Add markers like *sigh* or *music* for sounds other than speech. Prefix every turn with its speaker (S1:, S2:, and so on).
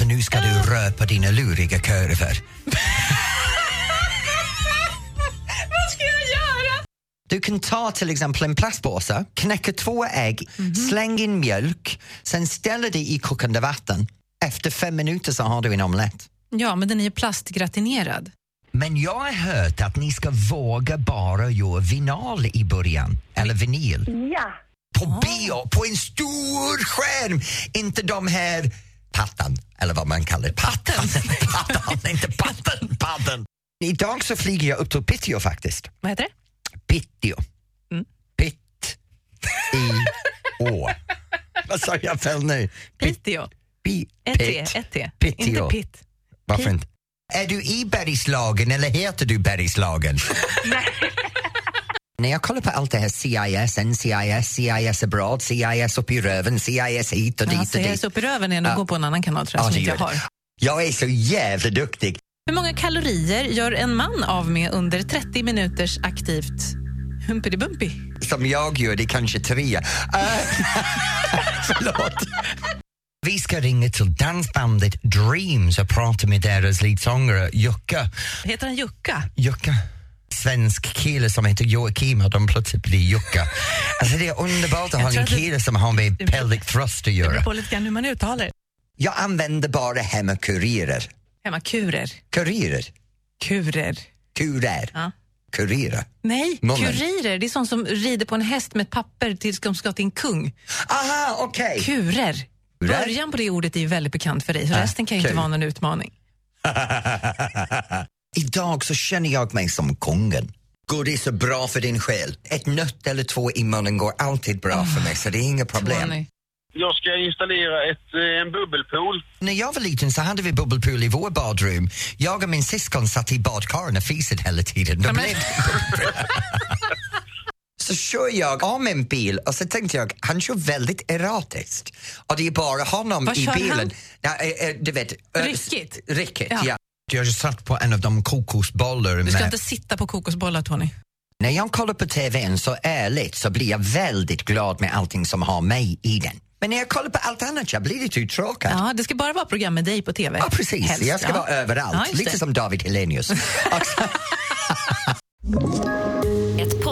S1: för nu ska
S2: Ah.
S1: du röpa dina luriga kurvor.
S2: Vad ska jag göra?
S1: Du kan ta till exempel en plastpåse, knäcka två ägg,
S2: Mhm.
S1: släng in mjölk, sen ställa det i kokande vatten. Efter fem minuter så har du en omelett.
S2: Ja, men den är ju plastgratinerad.
S1: Men jag har hört att ni ska våga bara göra vinyl i början, eller vinyl.
S3: Ja.
S1: På bio, på en stor skärm! Inte de här pattan, eller vad man kallar det. Pattan, pattan inte patten, padden. Idag så flyger jag upp till Piteå faktiskt.
S2: Vad heter det?
S1: Piteå. Pitt i å. Vad sa jag fel nu?
S2: Piteå.
S1: Pi-
S2: Ett E. T.
S1: Pitt.
S2: Ett T.
S1: Piteå.
S2: Inte pitt.
S1: Varför inte? Är du i Bergslagen eller heter du
S2: *laughs*
S1: Bergslagen? När jag kollar på allt det här CIS, NCIS, CIS abroad, CIS upp i röven, CIS hit och dit
S2: Ja,
S1: och dit.
S2: CS upp i röven är nog
S1: Ja.
S2: gå på en annan kanal tror
S1: Ja,
S2: jag, som
S1: det
S2: inte jag
S1: gör
S2: har.
S1: det. Jag är så jävla duktig.
S2: Hur många kalorier gör en man av med under 30 minuters aktivt humpidi-bumpy?
S1: Som jag gör, det är kanske tre. Eh, *laughs* Förlåt. Vi ska ringa till dansbandet Dreams och prata med deras leadsångare Jukka.
S2: Heter han Jukka?
S1: Jukka. Svensk kille som heter Joakim och de plötsligt blir Jukka. Alltså det är underbart att ha
S2: tror
S1: en
S2: att det-
S1: kille som har med
S2: beror-
S1: pelvic thrust att
S2: Det beror
S1: göra.
S2: på lite grann hur man uttalar det.
S1: Jag använder bara hemmakurirer.
S2: Hemma, kurer.
S1: Kurirer?
S2: Kurer.
S1: Kurer?
S2: Ja.
S1: Kurirer?
S2: Nej,
S1: Munnen.
S2: kurirer. Det är sånt som rider på en häst med ett papper tills de ska till en kung.
S1: Aha, okej!
S2: Kurer.
S1: Kurer? Ah,
S2: Början på det ordet är ju väldigt bekant för dig, så resten kan ju inte
S1: kul.
S2: vara någon utmaning.
S1: Idag så känner jag mig som kungen. Godis är bra för din själ. Ett nöt eller två i munnen går alltid bra för mig, så det är inga problem.
S2: Tony.
S4: Jag ska installera ett, eh, en bubbelpool.
S1: När jag var liten så hade vi bubbelpool i vårt badrum. Jag och min syskon satt i badkaren och fiset hela tiden. Då
S2: men-
S1: blev det- så kör jag av min bil och så tänkte jag, han kör väldigt erratiskt. Och det är bara honom
S2: Vad
S1: i
S2: kör
S1: bilen.
S2: han?
S1: Nej, eh, eh, du vet, eh,
S2: Ryckigt?
S1: Ryckigt,
S2: Ja.
S1: ja. Jag satt på en av de kokosbollar
S2: Du ska
S1: med
S2: inte sitta på kokosbollar, Tony.
S1: När jag kollar på TVn så ärligt så blir jag väldigt glad med allting som har mig i den. Men när jag kollar på allt annat jag blir lite uttråkad. Ja.
S2: Ja, det ska bara vara program med dig på TV.
S1: precis,
S2: Helst,
S1: jag ska
S2: ja.
S1: vara överallt.
S2: Ja, just
S1: lite
S2: det.
S1: som David Hellenius. Och så- eh,
S5: Ett